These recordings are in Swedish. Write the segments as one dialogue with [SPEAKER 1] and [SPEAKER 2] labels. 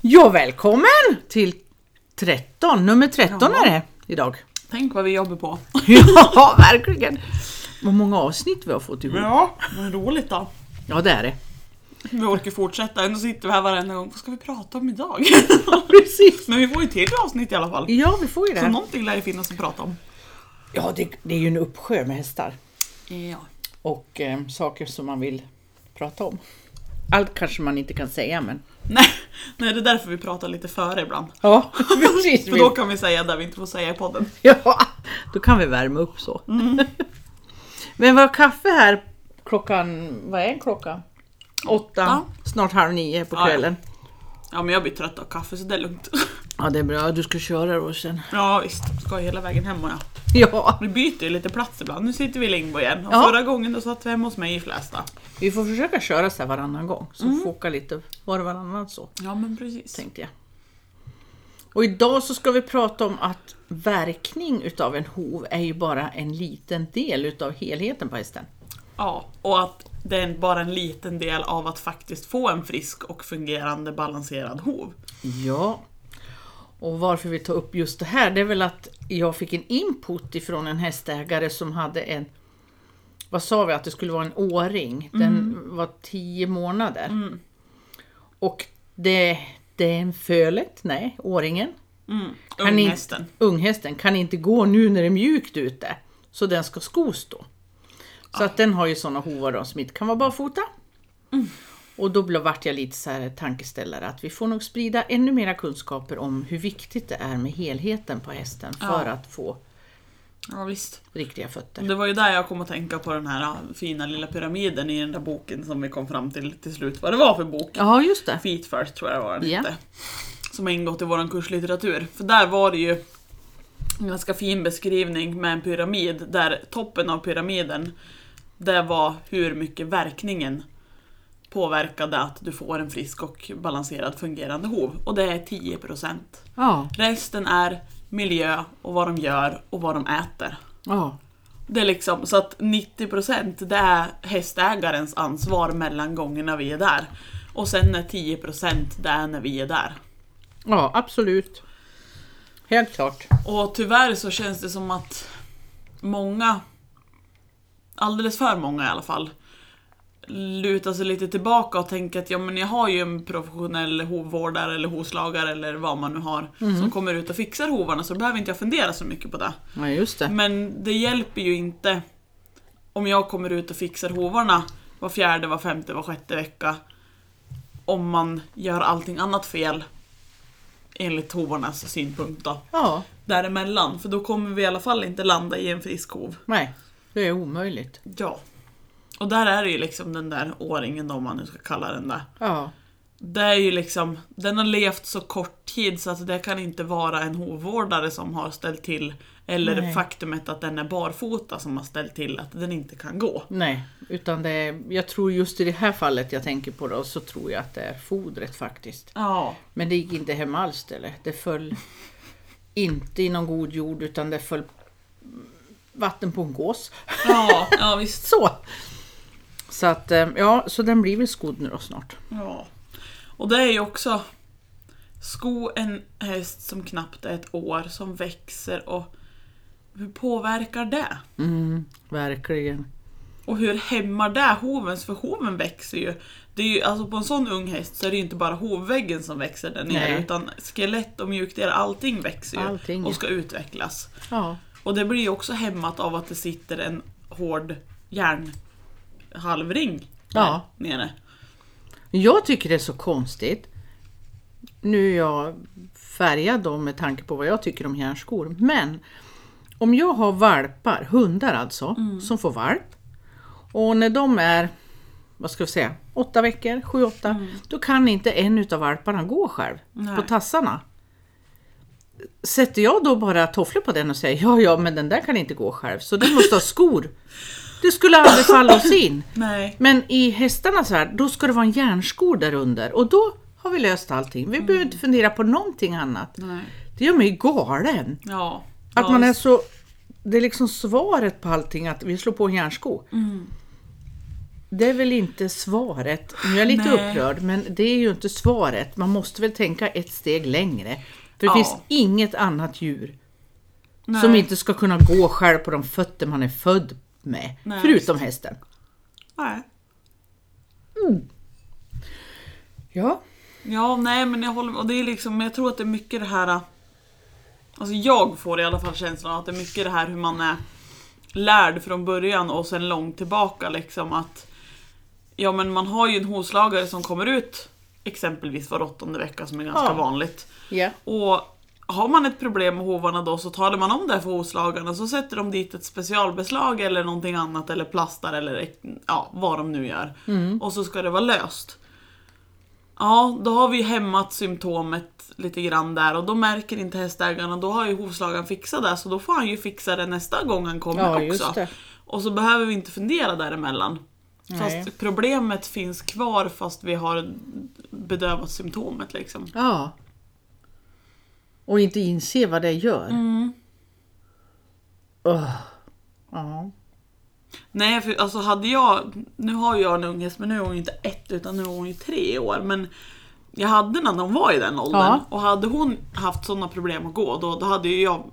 [SPEAKER 1] Ja, välkommen till 13, nummer 13
[SPEAKER 2] Ja.
[SPEAKER 1] är det idag.
[SPEAKER 2] Tänk vad vi jobbar på.
[SPEAKER 1] Ja, verkligen! Vad många avsnitt vi har fått ihop.
[SPEAKER 2] Ja, men roligt då.
[SPEAKER 1] Ja, det är det.
[SPEAKER 2] Vi orkar fortsätta, ändå sitter vi här varenda gång. Vad ska vi prata om idag?
[SPEAKER 1] Precis!
[SPEAKER 2] men vi får ju till avsnitt i alla fall.
[SPEAKER 1] Ja, vi får ju det.
[SPEAKER 2] Så
[SPEAKER 1] här.
[SPEAKER 2] någonting lär ju finnas att prata om.
[SPEAKER 1] Ja, det, det är ju en uppsjö med hästar
[SPEAKER 2] Ja.
[SPEAKER 1] och eh, saker som man vill prata om. Allt kanske man inte kan säga, men...
[SPEAKER 2] Nej, nej, det är därför vi pratar lite före ibland.
[SPEAKER 1] Ja, precis.
[SPEAKER 2] För då kan vi säga det vi inte får säga i podden.
[SPEAKER 1] Ja, då kan vi värma upp så.
[SPEAKER 2] Mm.
[SPEAKER 1] Men vi har kaffe här klockan, vad är klockan? Åtta,
[SPEAKER 2] Åtta.
[SPEAKER 1] snart halv nio på
[SPEAKER 2] Ja, ja.
[SPEAKER 1] kvällen.
[SPEAKER 2] Ja, men jag blir trött av kaffe så det är lugnt.
[SPEAKER 1] Ja det är bra, du ska köra då sen.
[SPEAKER 2] Ja visst, ska hela vägen hem och jag.
[SPEAKER 1] Ja,
[SPEAKER 2] Vi byter ju lite plats ibland. Nu sitter vi i Lingbo igen. Och
[SPEAKER 1] Ja.
[SPEAKER 2] Förra gången då satt vi hemma hos mig i Flästa.
[SPEAKER 1] vi får försöka köra så här varannan gång. Så får åka lite var och varannan så,
[SPEAKER 2] Ja men precis.
[SPEAKER 1] tänkte jag. Och idag så ska vi prata om att verkning utav en hov är ju bara en liten del utav helheten på hästen.
[SPEAKER 2] Ja, och att det är bara en liten del av att faktiskt få en frisk och fungerande balanserad hov.
[SPEAKER 1] Ja. Och varför vi tar upp just det här, det är väl att jag fick en input ifrån en hästägare som hade en, vad sa vi att det skulle vara en åring? Den var 10 månader. Och det, det är en fölet, nej, åringen.
[SPEAKER 2] Mm.
[SPEAKER 1] Kan inte-
[SPEAKER 2] Unghästen.
[SPEAKER 1] unghästen kan inte gå nu när det är mjukt ute. Så den ska skos då. Så att den har ju sådana hovar då som inte kan vara barfota. Mm. Och då blev- vart jag lite så här tankeställare att vi får nog sprida ännu mera kunskaper om hur viktigt det är med helheten på hästen för
[SPEAKER 2] Ja.
[SPEAKER 1] att få
[SPEAKER 2] Ja, visst.
[SPEAKER 1] riktiga fötter.
[SPEAKER 2] Det var ju där jag kom att tänka på den här fina lilla pyramiden i den där boken som vi kom fram till till slut vad det var för bok.
[SPEAKER 1] Ja, just det.
[SPEAKER 2] Feet first tror jag var den
[SPEAKER 1] Ja.
[SPEAKER 2] hette. Som har ingått i vår kurslitteratur. För där var det ju en ganska fin beskrivning med en pyramid där toppen av pyramiden det var hur mycket verkningen påverkade att du får en frisk och balanserad fungerande hov. Och det är 10%.
[SPEAKER 1] Ja,
[SPEAKER 2] Resten är miljö och vad de gör och vad de äter.
[SPEAKER 1] ja.
[SPEAKER 2] Det är liksom så att 90% det är hästägarens ansvar mellan gångerna vi är där. Och sen är 10% det är när vi är där.
[SPEAKER 1] ja absolut. Helt klart.
[SPEAKER 2] Och tyvärr så känns det som att många, alldeles för många i alla fall, lutar sig lite tillbaka och tänker att ja men jag har ju en professionell hovvårdare eller hovslagare eller vad man nu har som kommer ut och fixar hovarna så då behöver inte jag fundera så mycket på det.
[SPEAKER 1] Ja, just det.
[SPEAKER 2] Men det hjälper ju inte om jag kommer ut och fixar hovarna var fjärde, var femte, var sjätte vecka. Om man gör allting annat fel enligt hovarnas synpunkt då.
[SPEAKER 1] Ja,
[SPEAKER 2] Däremellan, för då kommer vi i alla fall inte landa i en frisk hov.
[SPEAKER 1] nej. Det är omöjligt.
[SPEAKER 2] Ja. Och där är det ju liksom den där åringen då, om man nu ska kalla den där.
[SPEAKER 1] Ja,
[SPEAKER 2] Det är ju liksom, den har levt så kort tid så att det kan inte vara en hovvårdare som har ställt till eller
[SPEAKER 1] Nej.
[SPEAKER 2] faktumet att den är barfota som har ställt till att den inte kan gå.
[SPEAKER 1] Nej, utan det är, jag tror just i det här fallet jag tänker på då så tror jag att det är fodret faktiskt.
[SPEAKER 2] Ja.
[SPEAKER 1] Men det gick inte hem alls eller? Det föll inte i någon god jord utan det föll vatten på en gås.
[SPEAKER 2] Ja, ja visst.
[SPEAKER 1] Så! Så att, eh, ja, så den blir väl skodd nu då snart.
[SPEAKER 2] Ja. Och det är ju också sko en häst som knappt är ett år, som växer och hur påverkar det?
[SPEAKER 1] Mm, verkligen.
[SPEAKER 2] Och hur hämmar det hovens? För hoven växer ju. Det är ju alltså på en sån ung häst så är det ju inte bara hovväggen som växer där nere
[SPEAKER 1] Nej.
[SPEAKER 2] utan skelett och mjukdelar, allting växer ju
[SPEAKER 1] Allting.
[SPEAKER 2] och ska utvecklas.
[SPEAKER 1] Ja,
[SPEAKER 2] Och det blir ju också hämmat av att det sitter en hård järnhalvring där
[SPEAKER 1] Ja.
[SPEAKER 2] nere.
[SPEAKER 1] Jag tycker det är så konstigt. Nu är jag färgad då med tanke på vad jag tycker om järnskor. Men om jag har valpar, hundar alltså, som får valp. Och när de är, vad ska vi säga, åtta veckor, sju, åtta. Då kan inte en utav valparna gå själv
[SPEAKER 2] Nej.
[SPEAKER 1] på tassarna. Sätter jag då bara tofflor på den och säger ja, ja, men den där kan inte gå själv så den måste ha skor. Det skulle aldrig falla oss in.
[SPEAKER 2] Nej.
[SPEAKER 1] Men i hästarna så här, då ska det vara en järnskor där under och då har vi löst allting. Vi behöver inte fundera på någonting annat.
[SPEAKER 2] Nej.
[SPEAKER 1] Det gör mig galen.
[SPEAKER 2] Ja.
[SPEAKER 1] Att
[SPEAKER 2] ja,
[SPEAKER 1] man är
[SPEAKER 2] visst. Mm.
[SPEAKER 1] så... Det är liksom svaret på allting att vi slår på en järnsko. Det är väl inte svaret. Nu är jag lite
[SPEAKER 2] Nej.
[SPEAKER 1] upprörd, men det är ju inte svaret. Man måste väl tänka ett steg längre. För det
[SPEAKER 2] Ja.
[SPEAKER 1] finns inget annat djur
[SPEAKER 2] Nej.
[SPEAKER 1] som inte ska kunna gå själv på de fötter man är född med.
[SPEAKER 2] Nej,
[SPEAKER 1] förutom hästen.
[SPEAKER 2] Nej.
[SPEAKER 1] Ja.
[SPEAKER 2] Ja, nej men jag håller och det är liksom, jag tror att det är mycket det här äh, Alltså jag får i alla fall känslan av att det är mycket det här hur man är lärd från början och sen långt tillbaka liksom att Ja men man har ju en hovslagare som kommer ut exempelvis var åttonde vecka som är ganska
[SPEAKER 1] Ja.
[SPEAKER 2] vanligt.
[SPEAKER 1] ja.
[SPEAKER 2] Och har man ett problem med hovarna då så talar man om det för hovslagarna så sätter de dit ett specialbeslag eller någonting annat eller plastar eller ja, vad de nu gör.
[SPEAKER 1] Mm.
[SPEAKER 2] Och så ska det vara löst. Ja, då har vi hämmat symptomet lite grann där och då märker inte hästägarna. Då har ju hovslagaren fixat det så då får han ju fixa det nästa gång han kommer
[SPEAKER 1] Ja,
[SPEAKER 2] också.
[SPEAKER 1] just det.
[SPEAKER 2] Och så behöver vi inte fundera däremellan.
[SPEAKER 1] Nej.
[SPEAKER 2] Fast problemet finns kvar fast vi har bedövat symptomet liksom.
[SPEAKER 1] Ja. Och inte inse vad det gör. Ugh. Ja.
[SPEAKER 2] Nej, för alltså hade jag... Nu har jag en unghäst, men nu är hon ju inte ett utan nu är hon ju tre år. Men jag hade när hon var i den åldern.
[SPEAKER 1] Ja.
[SPEAKER 2] Och hade hon haft sådana problem att gå då, då hade ju jag...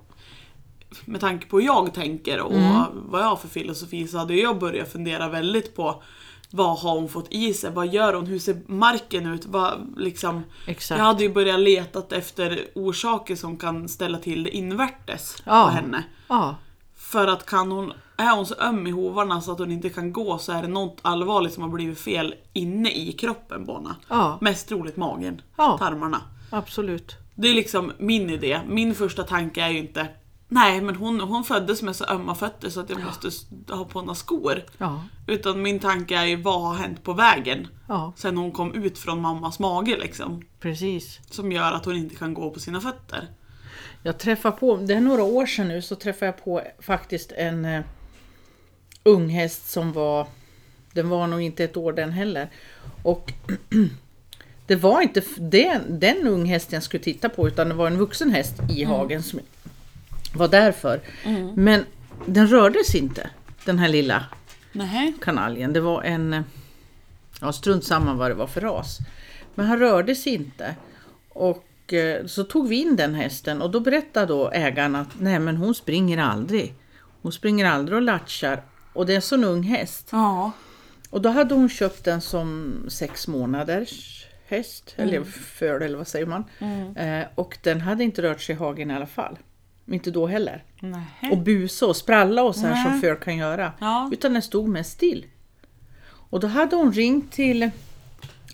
[SPEAKER 2] Med tanke på hur jag tänker och
[SPEAKER 1] Mm.
[SPEAKER 2] vad jag har för filosofi så hade jag börjat fundera väldigt på vad har hon fått i sig? Vad gör hon? Hur ser marken ut? Vad, liksom,
[SPEAKER 1] Exakt.
[SPEAKER 2] jag hade ju börjat leta efter orsaker som kan ställa till det invärtes
[SPEAKER 1] Ja.
[SPEAKER 2] på henne.
[SPEAKER 1] Ja.
[SPEAKER 2] För att kan hon, är hon så öm i hovarna så att hon inte kan gå så är det något allvarligt som har blivit fel inne i kroppen på henne.
[SPEAKER 1] Ja.
[SPEAKER 2] Mest troligt magen,
[SPEAKER 1] Ja.
[SPEAKER 2] tarmarna.
[SPEAKER 1] Absolut.
[SPEAKER 2] Det är liksom min idé. Min första tanke är ju inte Nej men hon, hon föddes med så ömma fötter så att jag måste s- ha på henne skor.
[SPEAKER 1] Ja.
[SPEAKER 2] Utan min tanke är ju vad har hänt på vägen?
[SPEAKER 1] Ja.
[SPEAKER 2] Sen hon kom ut från mammas mage liksom.
[SPEAKER 1] Precis.
[SPEAKER 2] Som gör att hon inte kan gå på sina fötter.
[SPEAKER 1] Jag träffar på, det är några år sedan nu, så träffade jag på faktiskt en eh, ung häst som var, den var nog inte ett år den heller. Och det var inte f- den, den ung hästen jag skulle titta på utan det var en vuxen häst i hagen som var därför. Men den rördes inte, den här lilla
[SPEAKER 2] Nej.
[SPEAKER 1] kanaljen. Det var en, eh, ja strunt samma vad det var för ras. Men han rörde sig inte. Och eh, så tog vi in den hästen och då berättade då ägaren att nej men hon springer aldrig. Hon springer aldrig och latchar. Och det är en sån ung häst.
[SPEAKER 2] Ja.
[SPEAKER 1] Och då hade hon köpt den som sex månaders häst, eller föl eller vad säger man. Eh, och den hade inte rört sig i hagen i alla fall. Inte då heller.
[SPEAKER 2] Nej.
[SPEAKER 1] Och busa och spralla och så här som föl kan göra.
[SPEAKER 2] Ja.
[SPEAKER 1] Utan den stod mest still. Och då hade hon ringt till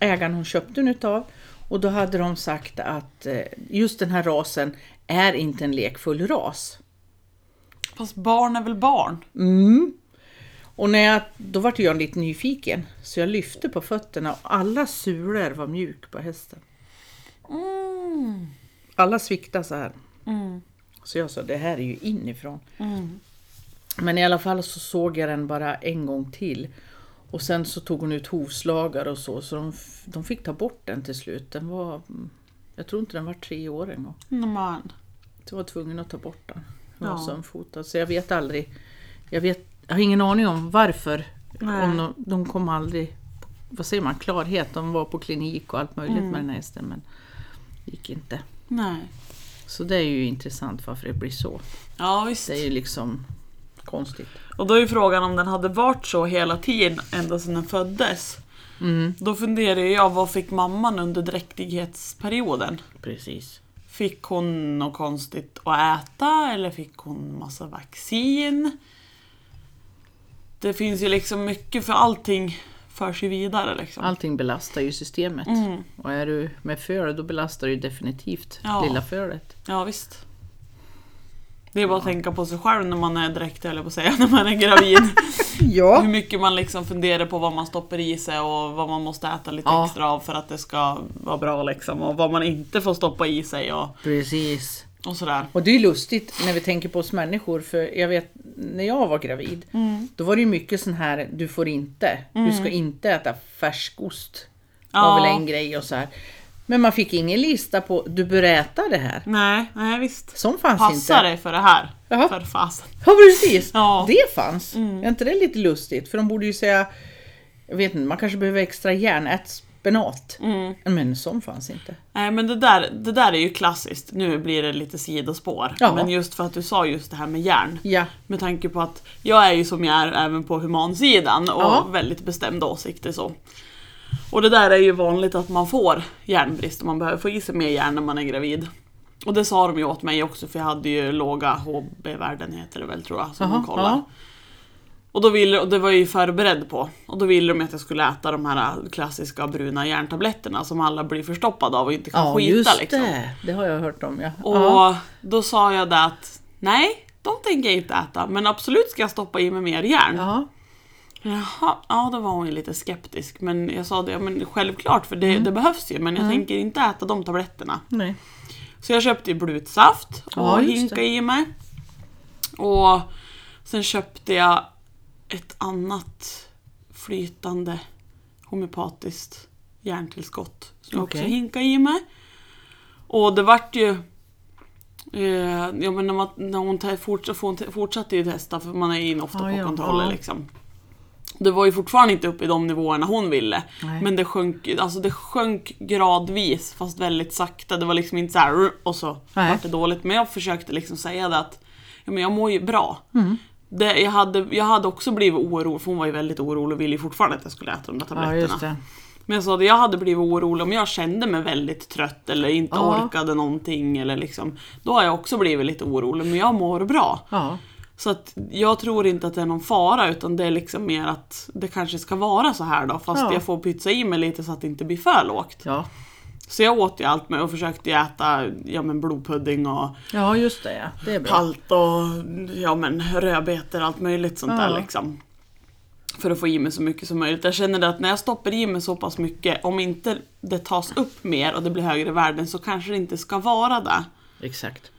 [SPEAKER 1] ägaren hon köpte den utav och då hade de sagt att eh, just den här rasen är inte en lekfull ras.
[SPEAKER 2] Fast barn är väl barn?
[SPEAKER 1] Och när jag, då vart jag lite nyfiken så jag lyfte på fötterna och alla sulor var mjuk på hästen. Alla sviktade så här. Så jag sa, det här är ju inifrån. Men i alla fall så såg jag den bara en gång till. Och sen så tog hon ut hovslagare och så, så de, f- de fick ta bort den till slut. Den var, jag tror inte den var tre år en gång.
[SPEAKER 2] Man.
[SPEAKER 1] Jag var tvungen att ta bort den. Den var
[SPEAKER 2] Ja.
[SPEAKER 1] sömfotad. Så jag vet aldrig. Jag, vet, jag har ingen aning om varför.
[SPEAKER 2] Nej.
[SPEAKER 1] Om de, de kom aldrig, vad säger man, klarhet. De var på klinik och allt möjligt
[SPEAKER 2] Mm.
[SPEAKER 1] med den här hästen men det gick inte.
[SPEAKER 2] Nej.
[SPEAKER 1] Så det är ju intressant varför det blir så.
[SPEAKER 2] Ja visst.
[SPEAKER 1] Det är ju liksom konstigt.
[SPEAKER 2] Och då är ju frågan om den hade varit så hela tiden ända sedan den föddes. Då funderar jag, vad fick mamman under dräktighetsperioden?
[SPEAKER 1] Precis.
[SPEAKER 2] Fick hon något konstigt att äta eller fick hon massa vaccin? Det finns ju liksom mycket för allting förs ju vidare liksom.
[SPEAKER 1] Allting belastar ju systemet.
[SPEAKER 2] Mm.
[SPEAKER 1] Och är du med föl då belastar du ju definitivt
[SPEAKER 2] Ja.
[SPEAKER 1] lilla fölet.
[SPEAKER 2] Ja visst. Det är bara att tänka på sig själv när man är dräktig eller på att säga, när man är gravid.
[SPEAKER 1] Ja.
[SPEAKER 2] Hur mycket man liksom funderar på vad man stoppar i sig och vad man måste äta lite
[SPEAKER 1] Ja.
[SPEAKER 2] extra av för att det ska vara bra liksom. Och vad man inte får stoppa i sig och,
[SPEAKER 1] Precis.
[SPEAKER 2] och sådär.
[SPEAKER 1] Och det är ju lustigt när vi tänker på oss människor, för jag vet när jag var gravid,
[SPEAKER 2] Mm.
[SPEAKER 1] då var det ju mycket sån här, du får inte, du ska inte äta färskost. Ja. var
[SPEAKER 2] Ja.
[SPEAKER 1] väl en grej och så här. Men man fick ingen lista på, du bör äta det här.
[SPEAKER 2] Nej, nej visst.
[SPEAKER 1] Som fanns
[SPEAKER 2] Passa
[SPEAKER 1] inte.
[SPEAKER 2] dig för det här.
[SPEAKER 1] Jaha.
[SPEAKER 2] För fasen.
[SPEAKER 1] Ja precis,
[SPEAKER 2] Ja. Mm.
[SPEAKER 1] det fanns. Är inte det lite lustigt? För de borde ju säga, jag vet inte, man kanske behöver extra järnärtspenat.
[SPEAKER 2] Mm.
[SPEAKER 1] Men sån fanns inte.
[SPEAKER 2] Nej men det där, det där är ju klassiskt, nu blir det lite sidospår.
[SPEAKER 1] Ja.
[SPEAKER 2] Men just för att du sa just det här med järn.
[SPEAKER 1] Ja,
[SPEAKER 2] Med tanke på att jag är ju som jag är även på humansidan och
[SPEAKER 1] Ja.
[SPEAKER 2] väldigt bestämda åsikter så. Och det där är ju vanligt att man får järnbrist och man behöver få i sig mer järn när man är gravid. Och det sa de ju åt mig också för jag hade ju låga HB-värden heter det väl tror jag som
[SPEAKER 1] Jaha,
[SPEAKER 2] de kollar.
[SPEAKER 1] ja.
[SPEAKER 2] Och, då ville, och det var jag ju förberedd på. Och då ville de att jag skulle äta de här klassiska bruna järntabletterna som alla blir förstoppade av och inte kan
[SPEAKER 1] ja
[SPEAKER 2] skita
[SPEAKER 1] just det.
[SPEAKER 2] liksom.
[SPEAKER 1] Det har jag hört om ja.
[SPEAKER 2] Och
[SPEAKER 1] ja.
[SPEAKER 2] då sa jag det att nej, de tänker jag inte äta, men absolut ska jag stoppa i mig mer järn.
[SPEAKER 1] ja.
[SPEAKER 2] Jaha, ja då var hon ju lite skeptisk. Men jag sa det, ja, men självklart för det,
[SPEAKER 1] Mm.
[SPEAKER 2] det behövs ju, men jag tänker inte äta de tabletterna.
[SPEAKER 1] Nej.
[SPEAKER 2] Så jag köpte ju blutsaft och
[SPEAKER 1] Ja, just
[SPEAKER 2] hinkade
[SPEAKER 1] det.
[SPEAKER 2] i mig. Och sen köpte jag ett annat flytande homeopatiskt järntillskott som jag också
[SPEAKER 1] Okej.
[SPEAKER 2] hinkade i mig. Och det vart ju... Eh, ja, men när, man, när hon te- forts- får- te- fortsatte ju testa för man är ju in ofta
[SPEAKER 1] Ja,
[SPEAKER 2] på
[SPEAKER 1] ja,
[SPEAKER 2] kontroller
[SPEAKER 1] ja.
[SPEAKER 2] liksom. Det var ju fortfarande inte uppe i de nivåerna hon ville.
[SPEAKER 1] Nej.
[SPEAKER 2] Men det sjönk, alltså det sjönk gradvis fast väldigt sakta. Det var liksom inte så här "Ruh", och så
[SPEAKER 1] Nej.
[SPEAKER 2] vart det dåligt. Men jag försökte liksom säga det att ja, men jag mår ju bra.
[SPEAKER 1] Mm.
[SPEAKER 2] Det, jag, hade, jag hade också blivit orolig, för hon var ju väldigt orolig och ville ju fortfarande att jag skulle äta de där
[SPEAKER 1] ja,
[SPEAKER 2] tabletterna.
[SPEAKER 1] just det.
[SPEAKER 2] Men jag sa att jag hade blivit orolig om jag kände mig väldigt trött eller inte
[SPEAKER 1] Ja.
[SPEAKER 2] orkade någonting. Eller liksom, då har jag också blivit lite orolig, men jag mår bra.
[SPEAKER 1] Ja.
[SPEAKER 2] Så att jag tror inte att det är någon fara utan det är liksom mer att det kanske ska vara så här då fast
[SPEAKER 1] Ja.
[SPEAKER 2] jag får pytsa i mig lite så att det inte blir för lågt.
[SPEAKER 1] Ja.
[SPEAKER 2] Så jag åt ju allt med och försökte ju äta ja, men blodpudding och
[SPEAKER 1] ja, just det ja. Det är bra.
[SPEAKER 2] palt och ja, men rödbetor allt möjligt sånt
[SPEAKER 1] Ja.
[SPEAKER 2] där liksom. För att få i mig så mycket som möjligt. Jag känner det att när jag stoppar i mig så pass mycket, om inte det tas upp mer och det blir högre värden så kanske det inte ska vara det.
[SPEAKER 1] Exakt.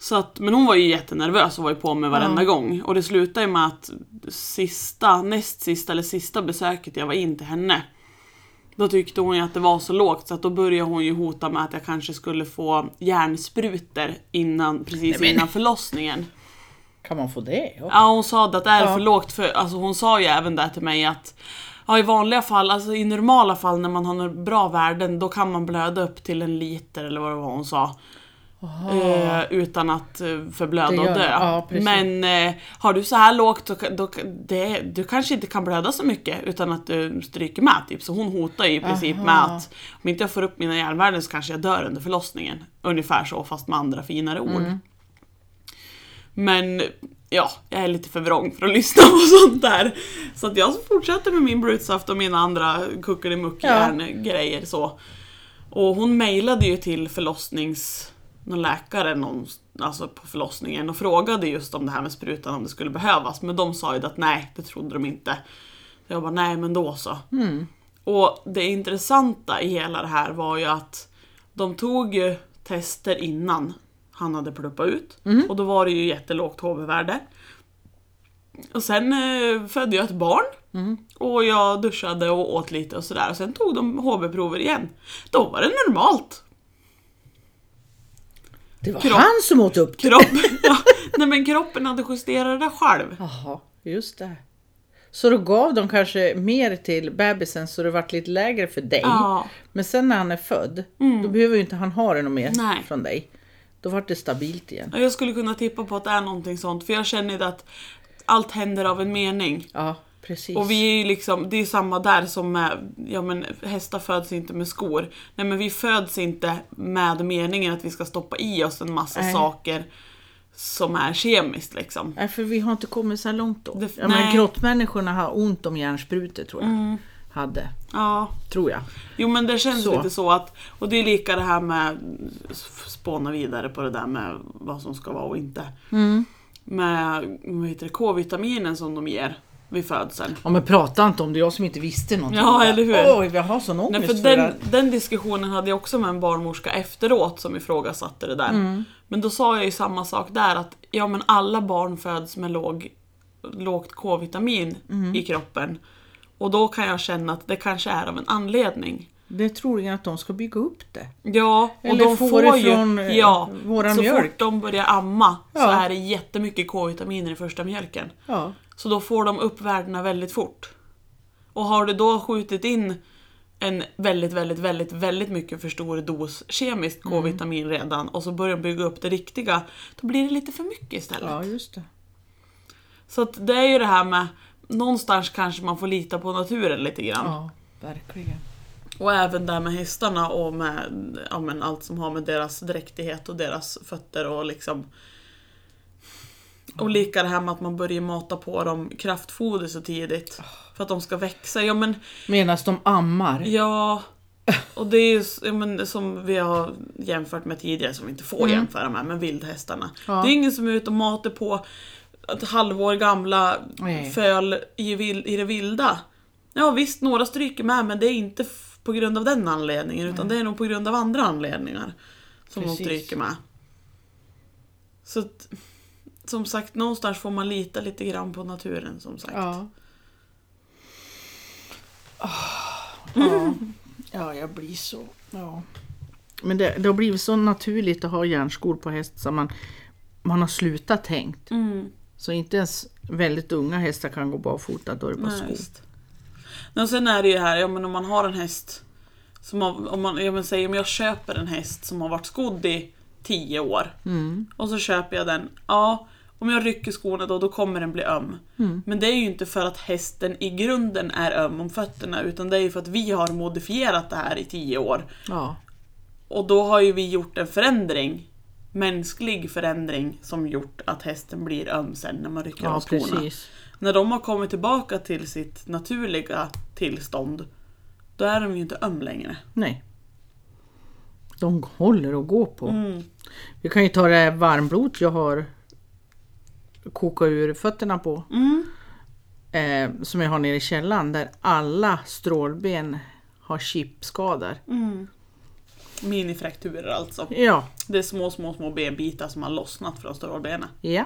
[SPEAKER 2] Så att, men hon var ju jättenervös och var ju på mig varenda gång. Och det slutade ju med att sista, näst sista eller sista besöket jag var in till henne. Då tyckte hon ju att det var så lågt så att då började hon ju hota med att jag kanske skulle få järnsprutor innan, precis
[SPEAKER 1] Nej, men-
[SPEAKER 2] innan förlossningen.
[SPEAKER 1] Kan man få det? Ja.
[SPEAKER 2] Ja hon sa att det är
[SPEAKER 1] Ja.
[SPEAKER 2] för lågt för alltså hon sa ju även där till mig att Ja i vanliga fall, alltså i normala fall när man har några bra värden då kan man blöda upp till en liter eller vad det var hon sa. Eh, utan att eh, förblöda
[SPEAKER 1] Det
[SPEAKER 2] och
[SPEAKER 1] gör-
[SPEAKER 2] dö.
[SPEAKER 1] ja, precis.
[SPEAKER 2] Men eh, har du så här lågt då, kan- då, kan- det, du kanske inte kan blöda så mycket utan att du stryker med. Typ. Så hon hotar ju i princip med att om inte jag får upp mina järnvärden så kanske jag dör under förlossningen. Ungefär så fast med andra finare ord.
[SPEAKER 1] Mm.
[SPEAKER 2] Men ja, jag är lite för vrång för att lyssna på sånt där. Så att jag fortsätter med min brutsaft och mina andra kuckelimuckjärn-grejer så. Och hon mejlade ju till förlossnings... Någon läkare någon, alltså på förlossningen och frågade just om det här med sprutan om det skulle behövas. Men de sa ju att nej, det trodde de inte. Så jag bara, nej men då så. Och det intressanta i hela det här var ju att de tog ju tester innan han hade pluppat ut. Och då var det ju jättelågt HB-värde. Och sen eh, födde jag ett barn. Och jag duschade och åt lite och sådär. Och sen tog de HB-prover igen. Då var det normalt.
[SPEAKER 1] Det var
[SPEAKER 2] Kropp.
[SPEAKER 1] han som åt upp det.
[SPEAKER 2] Kroppen, ja, nej men kroppen hade justerat det själv.
[SPEAKER 1] Jaha, just det. Så då gav de kanske mer till bebisen så det vart lite lägre för dig.
[SPEAKER 2] Ja. Mm.
[SPEAKER 1] Men sen när han är född, då behöver ju inte han ha det något mer
[SPEAKER 2] Nej.
[SPEAKER 1] från dig. Då vart det stabilt igen.
[SPEAKER 2] Jag skulle kunna tippa på att det är någonting sånt. För jag känner att allt händer av en mening.
[SPEAKER 1] Ja, precis.
[SPEAKER 2] Och vi är ju liksom, det är ju samma där som med, ja men hästar föds inte med skor. Nej men vi föds inte med meningen att vi ska stoppa i oss en massa
[SPEAKER 1] Nej.
[SPEAKER 2] saker som är kemiskt liksom.
[SPEAKER 1] Nej, för vi har inte kommit så här långt då.
[SPEAKER 2] Det-
[SPEAKER 1] ja, men
[SPEAKER 2] nej. Mm.
[SPEAKER 1] grottmänniskorna har ont om järnsprutor tror jag. Hade,
[SPEAKER 2] Ja.
[SPEAKER 1] tror jag.
[SPEAKER 2] Jo men det känns
[SPEAKER 1] Så.
[SPEAKER 2] lite så att, och det är lika det här med, spåna vidare på det där med vad som ska vara och inte. Med vad heter det, K-vitaminen som de ger vid födseln.
[SPEAKER 1] Ja men prata inte om det, jag som inte visste någonting.
[SPEAKER 2] Ja, eller hur?
[SPEAKER 1] Oj, jag har sån ångest
[SPEAKER 2] Nej, för
[SPEAKER 1] för
[SPEAKER 2] den,
[SPEAKER 1] det.
[SPEAKER 2] den diskussionen hade jag också med en barnmorska efteråt som ifrågasatte det där. Men då sa jag ju samma sak där att ja men alla barn föds med låg, lågt K-vitamin i kroppen. Och då kan jag känna att det kanske är av en anledning.
[SPEAKER 1] Det är troligen att de ska bygga upp det.
[SPEAKER 2] Ja, och
[SPEAKER 1] Eller
[SPEAKER 2] de
[SPEAKER 1] får
[SPEAKER 2] får
[SPEAKER 1] ifrån,
[SPEAKER 2] ju...
[SPEAKER 1] eh,
[SPEAKER 2] Ja,
[SPEAKER 1] våran
[SPEAKER 2] så
[SPEAKER 1] mjölk.
[SPEAKER 2] fort de börjar amma så
[SPEAKER 1] Ja.
[SPEAKER 2] är det jättemycket K-vitaminer i första mjölken.
[SPEAKER 1] Ja.
[SPEAKER 2] Så då får de upp värdena väldigt fort. Och har du då skjutit in en väldigt, väldigt, väldigt, väldigt mycket för stor dos kemiskt
[SPEAKER 1] Mm.
[SPEAKER 2] K-vitamin redan och så börjar de bygga upp det riktiga, då blir det lite för mycket istället.
[SPEAKER 1] Ja, just det.
[SPEAKER 2] Så att det är ju det här med, någonstans kanske man får lita på naturen lite grann.
[SPEAKER 1] Ja, verkligen.
[SPEAKER 2] Och även där med hästarna och med ja, men allt som har med deras dräktighet och deras fötter och liksom och lika det här med att man börjar mata på dem kraftfoder så tidigt. För att de ska växa. Ja men,
[SPEAKER 1] Medan de ammar.
[SPEAKER 2] ja. Och det är ju s- ja, men, som vi har jämfört med tidigare, som vi inte får jämföra med, men vildhästarna.
[SPEAKER 1] Mm. Ja.
[SPEAKER 2] Det är ingen som är ute och matar på ett halvår gamla
[SPEAKER 1] Nej.
[SPEAKER 2] föl i, vil- i det vilda. Ja visst, några stryker med men det är inte f- på grund av den anledningen utan det är nog på grund av andra anledningar som
[SPEAKER 1] Precis.
[SPEAKER 2] de stryker med. Så att, som sagt, någonstans får man lita lite grann på naturen som sagt.
[SPEAKER 1] Ja. Ah, ja. ja, jag blir så. Ja. Men det, det har blivit så naturligt att ha järnskor på häst så man, man har slutat tänkt.
[SPEAKER 2] Mm.
[SPEAKER 1] Så inte ens väldigt unga hästar kan gå barfota, då är det bara
[SPEAKER 2] Nej,
[SPEAKER 1] skor.
[SPEAKER 2] visst. Men sen är det ju här, ja men om man har en häst som har, om man, jag men säg om jag köper en häst som har varit skodd i 10 år
[SPEAKER 1] Mm.
[SPEAKER 2] och så köper jag den, ja om jag rycker skorna då, då kommer den bli öm.
[SPEAKER 1] Mm.
[SPEAKER 2] Men det är ju inte för att hästen i grunden är öm om fötterna utan det är ju för att vi har modifierat det här i 10 år.
[SPEAKER 1] Ja,
[SPEAKER 2] Och då har ju vi gjort en förändring, mänsklig förändring som gjort att hästen blir öm sen när man rycker av
[SPEAKER 1] ja
[SPEAKER 2] skorna.
[SPEAKER 1] precis.
[SPEAKER 2] När de har kommit tillbaka till sitt naturliga tillstånd, då är de ju inte öm längre.
[SPEAKER 1] Nej. De håller att gå på.
[SPEAKER 2] Mm.
[SPEAKER 1] Vi kan ju ta det här varmblod jag har kokat ur fötterna på.
[SPEAKER 2] Mm.
[SPEAKER 1] eh, som jag har nere i källaren där alla strålben har chipskador.
[SPEAKER 2] Minifrakturer alltså.
[SPEAKER 1] Ja,
[SPEAKER 2] Det är små, små, små benbitar som har lossnat från strålbenen.
[SPEAKER 1] ja.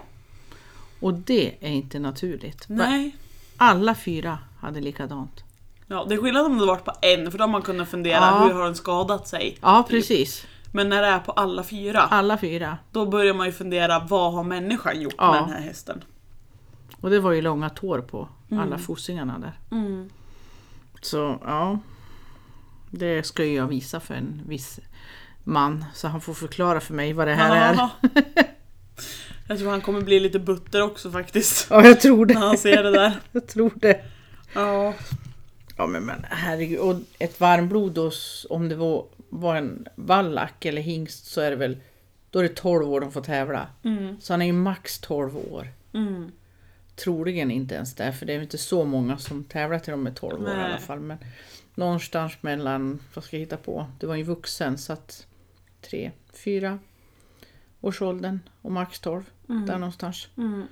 [SPEAKER 1] Och det är inte naturligt. Va-
[SPEAKER 2] Nej.
[SPEAKER 1] Alla fyra hade likadant.
[SPEAKER 2] Ja, det är skillnad om det varit på en, för då har man kunnat fundera,
[SPEAKER 1] Ja.
[SPEAKER 2] hur har den skadat sig?
[SPEAKER 1] Ja,
[SPEAKER 2] Typ.
[SPEAKER 1] precis.
[SPEAKER 2] Men när det är på alla fyra,
[SPEAKER 1] Alla fyra.
[SPEAKER 2] då börjar man ju fundera, vad har människan gjort
[SPEAKER 1] Ja.
[SPEAKER 2] med den här hästen?
[SPEAKER 1] Och det var ju långa tår på alla fossingarna där. Så ja, det ska ju jag visa för en viss man så han får förklara för mig vad det här är.
[SPEAKER 2] Ja. Jag tror han kommer bli lite butter också faktiskt,
[SPEAKER 1] Ja, jag tror
[SPEAKER 2] när
[SPEAKER 1] det.
[SPEAKER 2] han ser det där.
[SPEAKER 1] Jag tror det.
[SPEAKER 2] Ja.
[SPEAKER 1] Ja men, men herregud, och ett varmblod då, s- om det var, var en vallack eller hingst så är det väl då är det 12 år de får tävla. Så han är ju max 12 år.
[SPEAKER 2] Mm.
[SPEAKER 1] Troligen inte ens det, för det är ju inte så många som tävlar till de är 12 år i alla
[SPEAKER 2] Nej.
[SPEAKER 1] fall. Men någonstans mellan, vad ska jag hitta på, det var ju vuxen så att 3, 4 års åldern och max 12. Där någonstans.
[SPEAKER 2] Mm.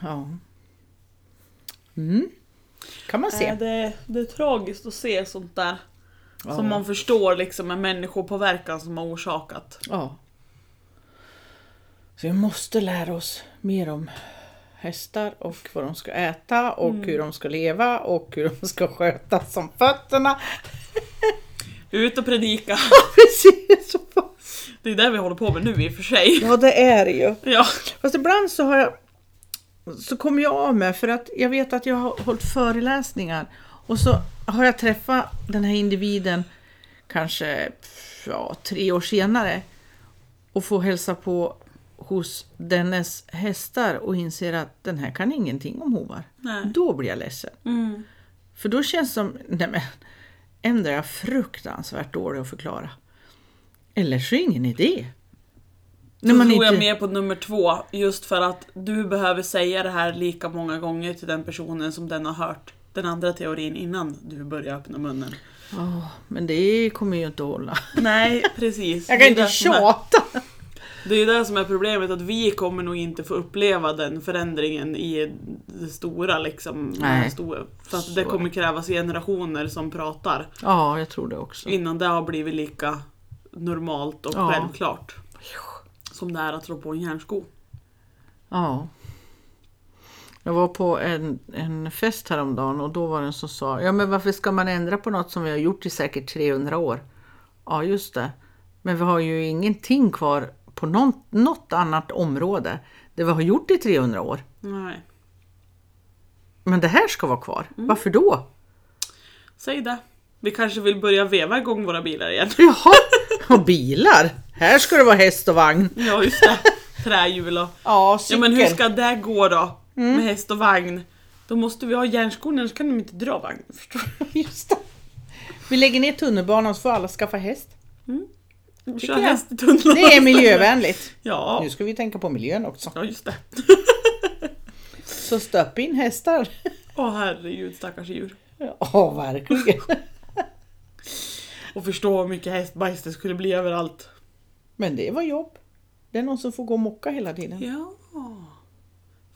[SPEAKER 1] Ja. Mm. Kan man
[SPEAKER 2] Nej,
[SPEAKER 1] se.
[SPEAKER 2] det, det är tragiskt att se sånt där.
[SPEAKER 1] Ja.
[SPEAKER 2] Som man förstår liksom är människopåverkan som har orsakat.
[SPEAKER 1] Ja. Så vi måste lära oss mer om hästar och vad de ska äta och
[SPEAKER 2] Mm.
[SPEAKER 1] hur de ska leva och hur de ska skötas som fötterna.
[SPEAKER 2] Ut och predika!
[SPEAKER 1] Precis!
[SPEAKER 2] Det är det vi håller på med nu i och för sig.
[SPEAKER 1] Ja det är det ju.
[SPEAKER 2] Ja.
[SPEAKER 1] Fast ibland så har jag så kommer jag av mig för att jag vet att jag har hållit föreläsningar och så har jag träffat den här individen kanske pff, ja, tre år senare och får hälsa på hos dennes hästar och inser att den här kan ingenting om hovar.
[SPEAKER 2] Nej.
[SPEAKER 1] Då blir jag ledsen.
[SPEAKER 2] Mm.
[SPEAKER 1] För då känns det som, nej men, ändå är jag fruktansvärt dålig att förklara. Eller så är det ingen idé.
[SPEAKER 2] Så tror jag mer på nummer två, just för att du behöver säga det här lika många gånger till den personen som den har hört den andra teorin innan du börjar öppna munnen.
[SPEAKER 1] Ja, men det kommer ju inte att hålla.
[SPEAKER 2] Nej, precis.
[SPEAKER 1] Jag kan
[SPEAKER 2] Det är
[SPEAKER 1] inte
[SPEAKER 2] det som är-
[SPEAKER 1] tjata.
[SPEAKER 2] Det är ju det som är problemet, att vi kommer nog inte få uppleva den förändringen i det stora liksom.
[SPEAKER 1] Nej.
[SPEAKER 2] det Stora, för att det
[SPEAKER 1] Så.
[SPEAKER 2] kommer krävas generationer som pratar
[SPEAKER 1] Ja, jag tror det också.
[SPEAKER 2] innan det har blivit lika normalt och
[SPEAKER 1] Ja.
[SPEAKER 2] självklart. Som det är att slå på en järnsko.
[SPEAKER 1] Ja. Jag var på en, en fest häromdagen och då var det en som sa Ja men varför ska man ändra på något som vi har gjort i säkert 300 år? Ja just det. Men vi har ju ingenting kvar på någon, något annat område. Det vi har gjort i 300 år.
[SPEAKER 2] Nej.
[SPEAKER 1] Mm. Men det här ska vara kvar. Varför då?
[SPEAKER 2] Säg det. Vi kanske vill börja veva igång våra bilar igen.
[SPEAKER 1] Jaha, och bilar. Här ska det vara häst och vagn.
[SPEAKER 2] Ja just det. Trähjul och...
[SPEAKER 1] Ja,
[SPEAKER 2] Ja
[SPEAKER 1] cykel. Mm.
[SPEAKER 2] men hur ska det gå då? Med häst och vagn. Då måste vi ha järnskor annars kan de inte dra vagnen. Förstår du?
[SPEAKER 1] Just det. Vi lägger ner tunnelbanan så får alla skaffa häst.
[SPEAKER 2] Kör
[SPEAKER 1] jag.
[SPEAKER 2] häst i tunneln.
[SPEAKER 1] Det är miljövänligt.
[SPEAKER 2] Ja.
[SPEAKER 1] Nu ska vi tänka på miljön också.
[SPEAKER 2] Ja just det.
[SPEAKER 1] Så stöp in hästar.
[SPEAKER 2] Åh herregud stackars djur.
[SPEAKER 1] Ja, verkligen.
[SPEAKER 2] Och förstå hur mycket hästbajs det skulle bli överallt.
[SPEAKER 1] Men det var jobb. Det är någon som får gå och mocka hela tiden.
[SPEAKER 2] Ja.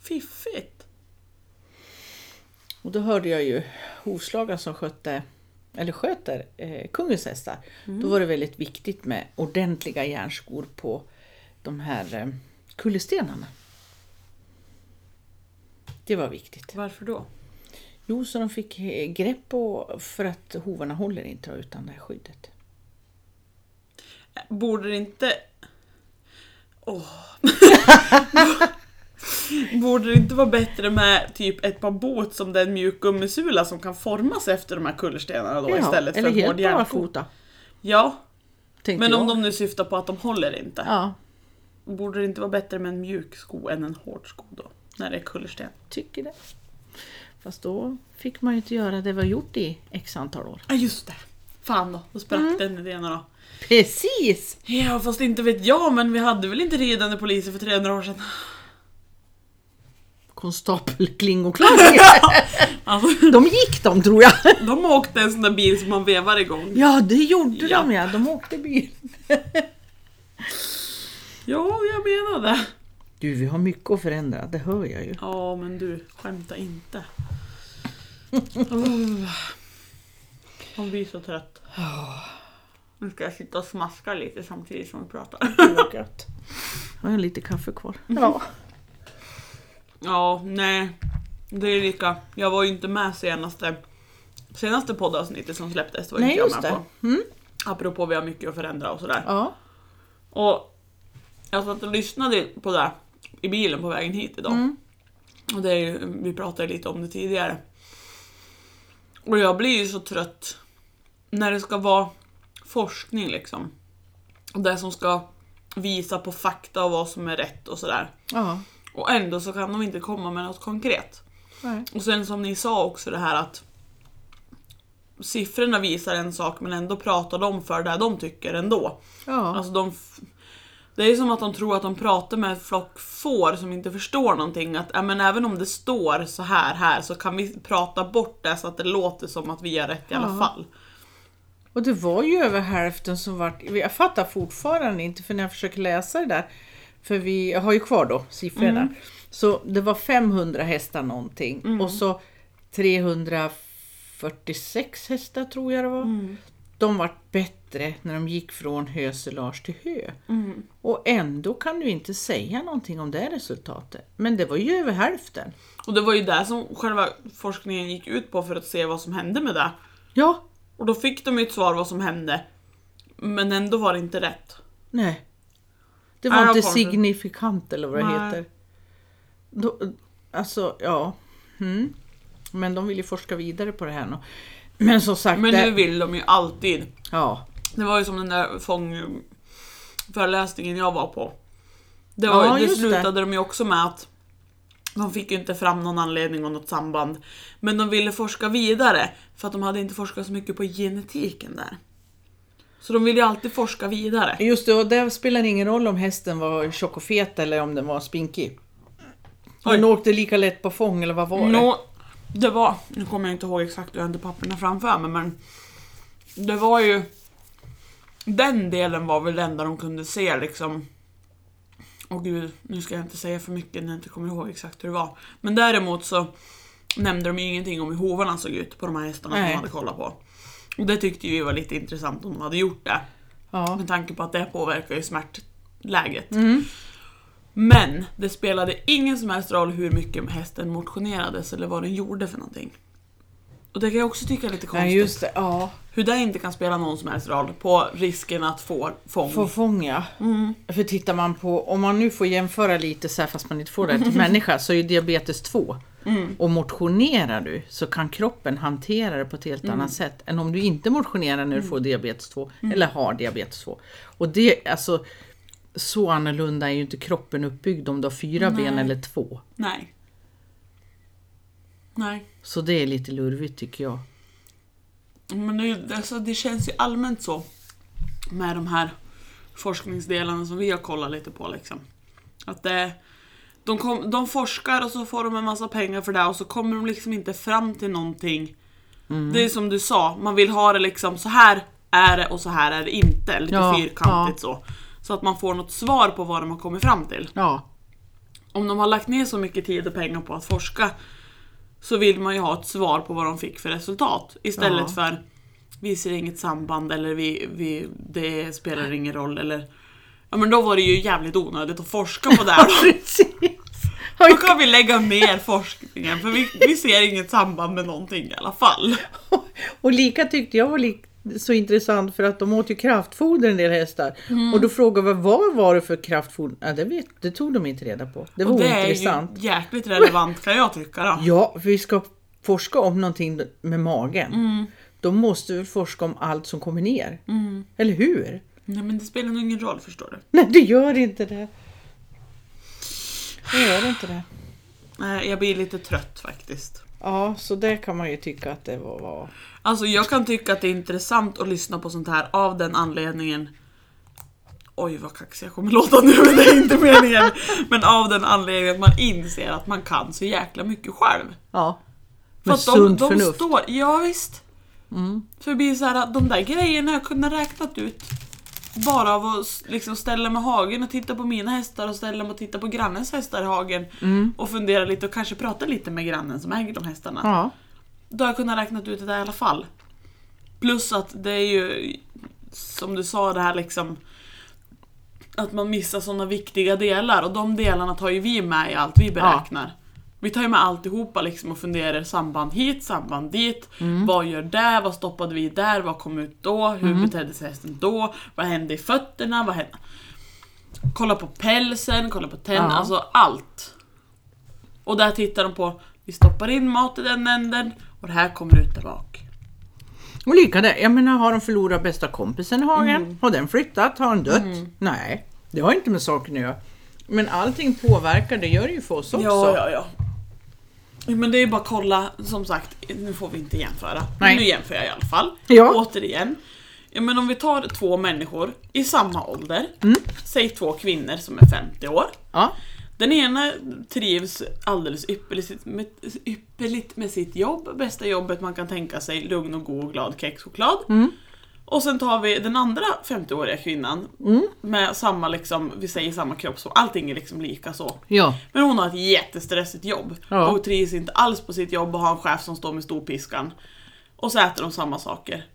[SPEAKER 2] Fiffigt.
[SPEAKER 1] Och då hörde jag ju hovslagaren som skötte, eller sköter eh, kungens hästar. Då var det väldigt viktigt med ordentliga järnskor på de här eh, kullerstenarna. Det var viktigt.
[SPEAKER 2] Varför då?
[SPEAKER 1] Jo, så de fick eh, grepp och för att hovarna håller inte utan det här skyddet.
[SPEAKER 2] Borde det inte... Åh. Borde det inte vara bättre med typ ett par båt som den mjukgummisula som kan formas efter de här kullerstenarna då istället för
[SPEAKER 1] eller
[SPEAKER 2] en
[SPEAKER 1] helt
[SPEAKER 2] hård järnfot?
[SPEAKER 1] barfota.
[SPEAKER 2] Ja,
[SPEAKER 1] tänkte
[SPEAKER 2] men om
[SPEAKER 1] jag.
[SPEAKER 2] de nu syftar på att de håller inte.
[SPEAKER 1] Ja,
[SPEAKER 2] Borde det inte vara bättre med en mjuk sko än en hård sko då? När det är kullersten.
[SPEAKER 1] tycker det. Fast då fick man ju inte göra det vi har gjort i x antal år.
[SPEAKER 2] Ja ah, just det! Fan då, då
[SPEAKER 1] Mm.
[SPEAKER 2] sprack den idén då.
[SPEAKER 1] Precis!
[SPEAKER 2] Ja fast inte vet jag men vi hade väl inte ridande poliser för 300 år sedan?
[SPEAKER 1] Konstapel Kling och Klang.
[SPEAKER 2] Alltså,
[SPEAKER 1] de gick de tror jag.
[SPEAKER 2] de åkte en sån där bil som man vevar igång.
[SPEAKER 1] Ja, det gjorde
[SPEAKER 2] Ja.
[SPEAKER 1] de ja. De åkte bil.
[SPEAKER 2] Ja, jag menar det.
[SPEAKER 1] Du, vi har mycket att förändra, det hör jag ju.
[SPEAKER 2] Ja, men du, skämta inte. Oh. Man blir så trött. Nu ska jag sitta och smaska lite samtidigt som vi pratar.
[SPEAKER 1] Gött. Jag har lite kaffe kvar. Ja.
[SPEAKER 2] Ja, nej. Det är lika. Jag var ju inte med senaste, senaste poddavsnittet som släpptes. Var
[SPEAKER 1] Nej,
[SPEAKER 2] inte jag
[SPEAKER 1] just
[SPEAKER 2] med
[SPEAKER 1] det.
[SPEAKER 2] på.
[SPEAKER 1] Mm.
[SPEAKER 2] Apropå vi har mycket att förändra och sådär.
[SPEAKER 1] Ja.
[SPEAKER 2] Och jag satt och lyssnade på det i bilen på vägen hit idag.
[SPEAKER 1] Mm.
[SPEAKER 2] Och det är ju, vi pratade lite om det tidigare. Och jag blir ju så trött när det ska vara forskning liksom. Och det som ska visa på fakta och vad som är rätt och sådär.
[SPEAKER 1] Ja.
[SPEAKER 2] Och ändå så kan de inte komma med något konkret.
[SPEAKER 1] Nej.
[SPEAKER 2] Och sen som ni sa också det här att siffrorna visar en sak men ändå pratar de för det de tycker ändå.
[SPEAKER 1] Ja.
[SPEAKER 2] Alltså de... f- Det är som att de tror att de pratar med en flock får som inte förstår någonting. Att ja, men även om det står så här här så kan vi prata bort det så att det låter som att vi gör rätt i alla
[SPEAKER 1] Ja.
[SPEAKER 2] fall.
[SPEAKER 1] Och det var ju över hälften som vart... Jag fattar fortfarande inte för när jag försöker läsa det där. För vi jag har ju kvar då siffrorna. Så det var 500 hästar någonting och så 346 hästar tror jag det var. De vart bättre när de gick från höselage till hö. Och ändå kan du inte säga någonting om det resultatet. Men det var ju över hälften.
[SPEAKER 2] Och det var ju det som själva forskningen gick ut på för att se vad som hände med det.
[SPEAKER 1] Ja,
[SPEAKER 2] Och då fick de ju ett svar vad som hände. Men ändå var det inte rätt.
[SPEAKER 1] Nej. Det
[SPEAKER 2] Nej,
[SPEAKER 1] var
[SPEAKER 2] jag
[SPEAKER 1] inte
[SPEAKER 2] kommer inte.
[SPEAKER 1] signifikant eller vad det
[SPEAKER 2] Nej.
[SPEAKER 1] heter. Då, alltså, ja. Mm. Men de vill ju forska vidare på det här nu. Men som sagt,
[SPEAKER 2] Men
[SPEAKER 1] det,
[SPEAKER 2] nu vill de ju alltid.
[SPEAKER 1] ja.
[SPEAKER 2] Det var ju som den där fångföreläsningen jag var på. Det, var,
[SPEAKER 1] Ja,
[SPEAKER 2] det
[SPEAKER 1] just det.
[SPEAKER 2] slutade de ju också med att de fick ju inte fram någon anledning och något samband. Men de ville forska vidare för att de hade inte forskat så mycket på genetiken där. Så de ville ju alltid forska vidare.
[SPEAKER 1] Just det, och det spelar ingen roll om hästen var tjock och fet eller om den var spinkig. Den
[SPEAKER 2] Oj.
[SPEAKER 1] åkte lika lätt på fång eller vad var det?
[SPEAKER 2] Nå, det var, nu kommer jag inte ihåg exakt, jag har inte papperna framför mig men det var ju den delen var väl det enda de kunde se liksom. Och gud, nu ska jag inte säga för mycket när jag inte kommer ihåg exakt hur det var. Men däremot så nämnde de ju ingenting om hur hovarna såg ut på de här hästarna som
[SPEAKER 1] Nej.
[SPEAKER 2] de hade kollat på. Och det tyckte ju vi var lite intressant om de hade gjort det.
[SPEAKER 1] Ja.
[SPEAKER 2] Med tanke på att det påverkar ju smärtläget.
[SPEAKER 1] Mm.
[SPEAKER 2] Men det spelade ingen som helst roll hur mycket hästen motionerades eller vad den gjorde för någonting. Och det kan jag också tycka är lite konstigt.
[SPEAKER 1] Nej, just det. Ja.
[SPEAKER 2] Hur det inte kan spela någon som helst roll på risken att få fång.
[SPEAKER 1] Få fånga. För tittar man på, om man nu får jämföra lite så här fast man inte får det till människa, så är ju diabetes 2 Och motionerar du så kan kroppen hantera det på ett helt annat sätt än om du inte motionerar när du får diabetes 2 eller har diabetes 2. Och det, alltså, så annorlunda är ju inte kroppen uppbyggd om du har fyra ben
[SPEAKER 2] Nej.
[SPEAKER 1] eller två.
[SPEAKER 2] Nej. Nej.
[SPEAKER 1] Så det är lite lurvigt tycker jag.
[SPEAKER 2] Men det, är ju- alltså, det känns ju allmänt så med de här forskningsdelarna som vi har kollat lite på. Liksom. Att det, de, kom, de forskar och så får de en massa pengar för det och så kommer de liksom inte fram till någonting.
[SPEAKER 1] Mm.
[SPEAKER 2] Det är som du sa, man vill ha det liksom så här är det och så här är det inte. Lite
[SPEAKER 1] Ja,
[SPEAKER 2] fyrkantigt så. Så att man får något svar på vad de har kommit fram till
[SPEAKER 1] Ja,
[SPEAKER 2] om de har lagt ner så mycket tid och pengar på att forska så vill man ju ha ett svar på vad de fick för resultat istället
[SPEAKER 1] Ja.
[SPEAKER 2] för vi ser inget samband eller vi, vi, det spelar ingen roll eller Ja men då var det ju jävligt onödigt att forska på det här då.
[SPEAKER 1] precis.
[SPEAKER 2] Då kan vi lägga ner forskningen för vi, vi ser inget samband med någonting i alla fall.
[SPEAKER 1] Och lika tyckte jag var lik- så intressant för att de åt ju kraftfoder en del hästar.
[SPEAKER 2] Mm.
[SPEAKER 1] Och då frågade vi vad var det för kraftfoder? Ja, det, vet, det tog de inte reda på. Det var
[SPEAKER 2] Och det är ju
[SPEAKER 1] intressant.
[SPEAKER 2] jäkligt relevant kan jag tycka då.
[SPEAKER 1] Ja, för vi ska forska om någonting med magen.
[SPEAKER 2] Mm.
[SPEAKER 1] Då måste vi forska om allt som kommer ner. Eller hur?
[SPEAKER 2] Nej men det spelar nog ingen roll förstår du.
[SPEAKER 1] Nej, det gör inte det. Det gör inte det.
[SPEAKER 2] Nej, Jag blir lite trött faktiskt.
[SPEAKER 1] Ja, så det kan man ju tycka att det var. var.
[SPEAKER 2] Alltså jag kan tycka att det är intressant att lyssna på sånt här av den anledningen Oj vad kaxig jag kommer låta nu, men det är inte meningen. Men av den anledningen att man inser att man kan så jäkla mycket själv.
[SPEAKER 1] Ja.
[SPEAKER 2] För
[SPEAKER 1] Med
[SPEAKER 2] att
[SPEAKER 1] sunt
[SPEAKER 2] de
[SPEAKER 1] förnuft. Mm.
[SPEAKER 2] Står, ja visst. För det blir så här att de där grejerna jag kunde räknat ut bara av att s- liksom ställa mig i hagen och titta på mina hästar och ställa mig och titta på grannens hästar i hagen.
[SPEAKER 1] Mm.
[SPEAKER 2] Och fundera lite och kanske prata lite med grannen som äger de hästarna.
[SPEAKER 1] Ja.
[SPEAKER 2] Då har jag kunnat räkna ut det där i alla fall. Plus att det är ju som du sa det här liksom att man missar sådana viktiga delar och de delarna tar ju vi med i allt vi beräknar. Vi tar ju med alltihopa liksom och funderar samband hit, samband dit. Vad gör det? Vad stoppade vi där? Vad kom ut då? Hur betedde sig hästen då? Vad hände i fötterna? Vad hände? Kolla på pälsen, kolla på tänderna,
[SPEAKER 1] Ja.
[SPEAKER 2] alltså allt. Och där tittar de på, vi stoppar in mat i den änden och det här kommer ut där bak.
[SPEAKER 1] Och lika där, jag menar har de förlorat bästa kompisen i hagen?
[SPEAKER 2] Mm.
[SPEAKER 1] Har den flyttat? Har den dött? Nej, det har inte med saken att göra. Men allting påverkar, det gör det ju för oss också.
[SPEAKER 2] Ja, ja, ja. Men det är ju bara att kolla, som sagt, nu får vi inte jämföra.
[SPEAKER 1] Nej.
[SPEAKER 2] Men nu jämför jag i alla fall.
[SPEAKER 1] Ja.
[SPEAKER 2] Återigen. Ja, men om vi tar två människor i samma ålder,
[SPEAKER 1] Mm.
[SPEAKER 2] säg två kvinnor som är 50 år.
[SPEAKER 1] Ja,
[SPEAKER 2] Den ena trivs alldeles ypperligt med, ypperligt med sitt jobb, bästa jobbet man kan tänka sig, lugn och god och glad kexchoklad. Och sen tar vi den andra 50-åriga kvinnan med samma, liksom, vi säger samma kropp, så allting är liksom lika så.
[SPEAKER 1] ja.
[SPEAKER 2] Men hon har ett jättestressigt jobb
[SPEAKER 1] Ja.
[SPEAKER 2] och trivs inte alls på sitt jobb och har en chef som står med storpiskan. Och så äter de samma saker.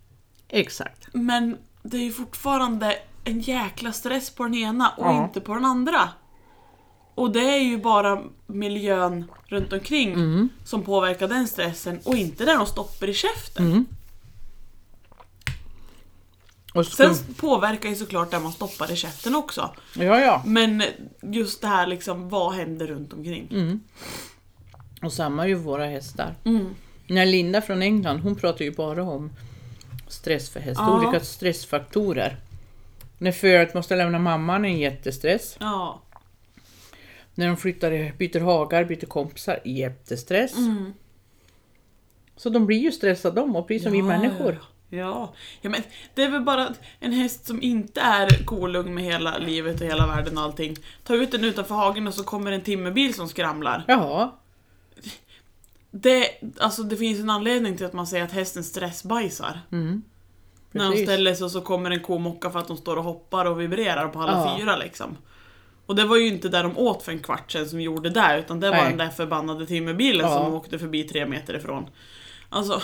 [SPEAKER 1] exakt.
[SPEAKER 2] Men det är ju fortfarande en jäkla stress på den ena och
[SPEAKER 1] Ja.
[SPEAKER 2] inte på den andra. Och det är ju bara miljön runt omkring som påverkar den stressen och inte där de stoppar i käften.
[SPEAKER 1] Och så,
[SPEAKER 2] Sen påverkar ju såklart där man stoppar i käften också.
[SPEAKER 1] ja, ja.
[SPEAKER 2] Men just det här liksom, vad händer runt omkring?
[SPEAKER 1] Och samma är ju våra hästar.
[SPEAKER 2] Mm.
[SPEAKER 1] När Linda från England, hon pratar ju bara om stress för hästar,
[SPEAKER 2] Ja.
[SPEAKER 1] olika stressfaktorer. När föret måste lämna mamman är en jättestress.
[SPEAKER 2] Ja.
[SPEAKER 1] När de flyttar, byter hagar, byter kompisar, jättestress.
[SPEAKER 2] Mm.
[SPEAKER 1] Så de blir ju stressade de, och precis som vi
[SPEAKER 2] Ja,
[SPEAKER 1] människor.
[SPEAKER 2] Ja. ja, men det är väl bara att en häst som inte är kolugn med hela livet och hela världen och allting. Ta ut den utanför hagen och så kommer en timmerbil som skramlar.
[SPEAKER 1] Jaha,
[SPEAKER 2] Det, alltså det finns en anledning till att man säger att hästen stressbajsar. När de
[SPEAKER 1] Mm, precis.
[SPEAKER 2] ställer sig och så kommer en ko mocka för att de står och hoppar och vibrerar på alla
[SPEAKER 1] Ja.
[SPEAKER 2] fyra liksom. Och det var ju inte där de åt för en kvart sedan som gjorde det, utan det var
[SPEAKER 1] Nej.
[SPEAKER 2] den där förbannade timmerbilen
[SPEAKER 1] Ja.
[SPEAKER 2] som åkte förbi tre meter ifrån. Alltså,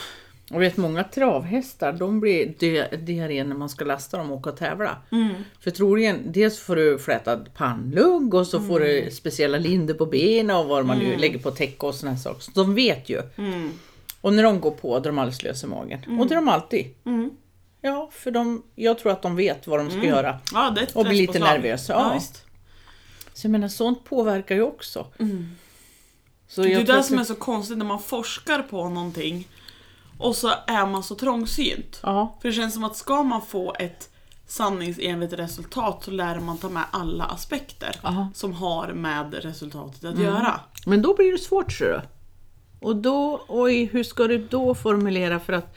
[SPEAKER 1] Jag vet många travhästar, de blir dö- diarré när man ska lasta dem och åka och tävla.
[SPEAKER 2] Mm.
[SPEAKER 1] För troligen, dels får du flätad pannlugg och så får du
[SPEAKER 2] Mm.
[SPEAKER 1] speciella linder på benen och vad man nu lägger på täcke och såna här saker. Så de vet ju.
[SPEAKER 2] Mm.
[SPEAKER 1] Och när de går på då är de alldeles lösa i magen. Och det är de alltid.
[SPEAKER 2] Mm.
[SPEAKER 1] Ja, för de, jag tror att de vet vad de ska göra.
[SPEAKER 2] ja, det är ett
[SPEAKER 1] Och blir lite
[SPEAKER 2] stresspåslag.
[SPEAKER 1] nervös,
[SPEAKER 2] Ja,
[SPEAKER 1] ja.
[SPEAKER 2] visst.
[SPEAKER 1] Så jag menar, sånt påverkar ju också. Så
[SPEAKER 2] Mm. Det är
[SPEAKER 1] jag tror
[SPEAKER 2] det
[SPEAKER 1] att
[SPEAKER 2] som
[SPEAKER 1] vi-
[SPEAKER 2] är så konstigt när man forskar på någonting och så är man så trångsynt.
[SPEAKER 1] Ja,
[SPEAKER 2] För det känns som att ska man få ett sanningsenligt resultat så lär man ta med alla aspekter
[SPEAKER 1] Aha.
[SPEAKER 2] som har med resultatet
[SPEAKER 1] Mm.
[SPEAKER 2] att göra.
[SPEAKER 1] men då blir det svårt ser du. Och då, oj, hur ska du då formulera för att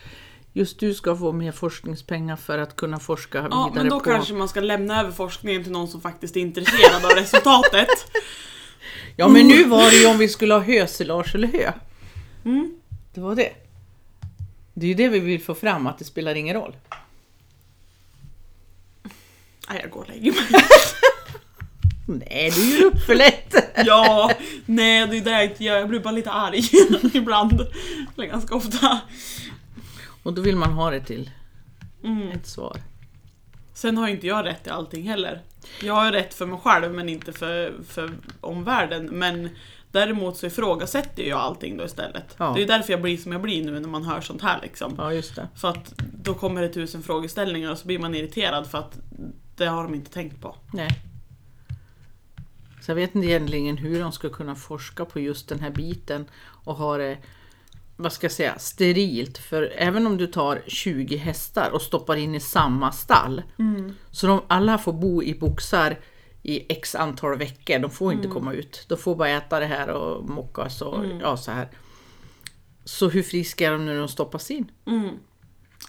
[SPEAKER 1] just du ska få mer forskningspengar för att kunna forska vidare
[SPEAKER 2] Ja, men då
[SPEAKER 1] på...
[SPEAKER 2] kanske man ska lämna över forskningen till någon som faktiskt är intresserad av resultatet.
[SPEAKER 1] Ja, men nu var det ju om vi skulle ha hösilage eller hö.
[SPEAKER 2] Mm.
[SPEAKER 1] Det var det. Det är ju det vi vill få fram, att det spelar ingen roll.
[SPEAKER 2] Nej, jag går och lägger mig.
[SPEAKER 1] Nej, du ger upp för lätt.
[SPEAKER 2] Ja, nej det är det jag inte gör. Jag blir bara lite arg ibland. Eller ganska ofta.
[SPEAKER 1] Och då vill man ha det till
[SPEAKER 2] Mm.
[SPEAKER 1] ett svar.
[SPEAKER 2] Sen har ju inte jag rätt i allting heller. Jag har ju rätt för mig själv men inte för, för omvärlden. Men däremot så ifrågasätter jag allting då istället.
[SPEAKER 1] Ja.
[SPEAKER 2] Det är ju därför jag blir som jag blir nu när man hör sånt här liksom.
[SPEAKER 1] Ja, just det.
[SPEAKER 2] För att då kommer det tusen frågeställningar och så blir man irriterad för att det har de inte tänkt på.
[SPEAKER 1] Nej. Så jag vet inte egentligen hur de ska kunna forska på just den här biten och ha det, vad ska jag säga, sterilt. För även om du tar 20 hästar och stoppar in i samma stall, så de alla får bo i boxar i x antal veckor, de får inte komma ut. De får bara äta det här och mockas och ja, så här. Så hur friska är de när de stoppas in?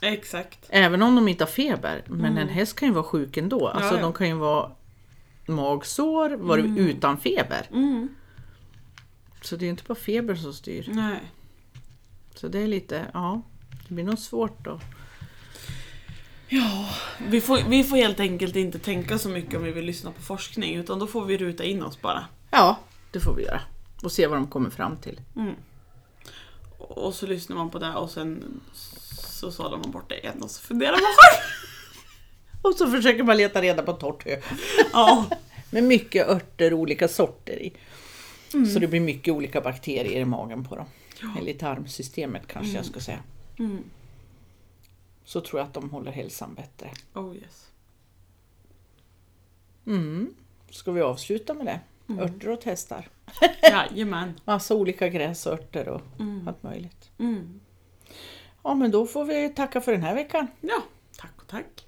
[SPEAKER 2] Exakt.
[SPEAKER 1] Även om de inte har feber. Men en häst kan ju vara sjuk ändå. Alltså
[SPEAKER 2] Mm. Ja, Mm. ja.
[SPEAKER 1] de kan ju vara magsår, vara utan feber. Så det är ju inte bara feber som styr.
[SPEAKER 2] Nej.
[SPEAKER 1] Så det är lite, ja. Det blir nog svårt då.
[SPEAKER 2] Ja, vi får, vi får helt enkelt inte tänka så mycket om vi vill lyssna på forskning utan då får vi ruta in oss bara.
[SPEAKER 1] Ja, det får vi göra. Och se vad de kommer fram till.
[SPEAKER 2] Och så lyssnar man på det och sen så sållar man bort det igen och så funderar man själv.
[SPEAKER 1] Och så försöker man leta reda på torrt hö.
[SPEAKER 2] Ja,
[SPEAKER 1] Med mycket örter och olika sorter i.
[SPEAKER 2] Mm.
[SPEAKER 1] Så det blir mycket olika bakterier i magen på dem. Eller i tarmsystemet kanske jag ska säga.
[SPEAKER 2] Mm.
[SPEAKER 1] Så tror jag att de håller hälsan bättre.
[SPEAKER 2] oh yes.
[SPEAKER 1] Mm. Ska vi avsluta med det? Örter åt hästar.
[SPEAKER 2] Mm. Jajamän.
[SPEAKER 1] Massa olika gräsörter och
[SPEAKER 2] Mm.
[SPEAKER 1] allt möjligt.
[SPEAKER 2] Mm.
[SPEAKER 1] Ja men då får vi tacka för den här veckan.
[SPEAKER 2] Ja, tack och tack.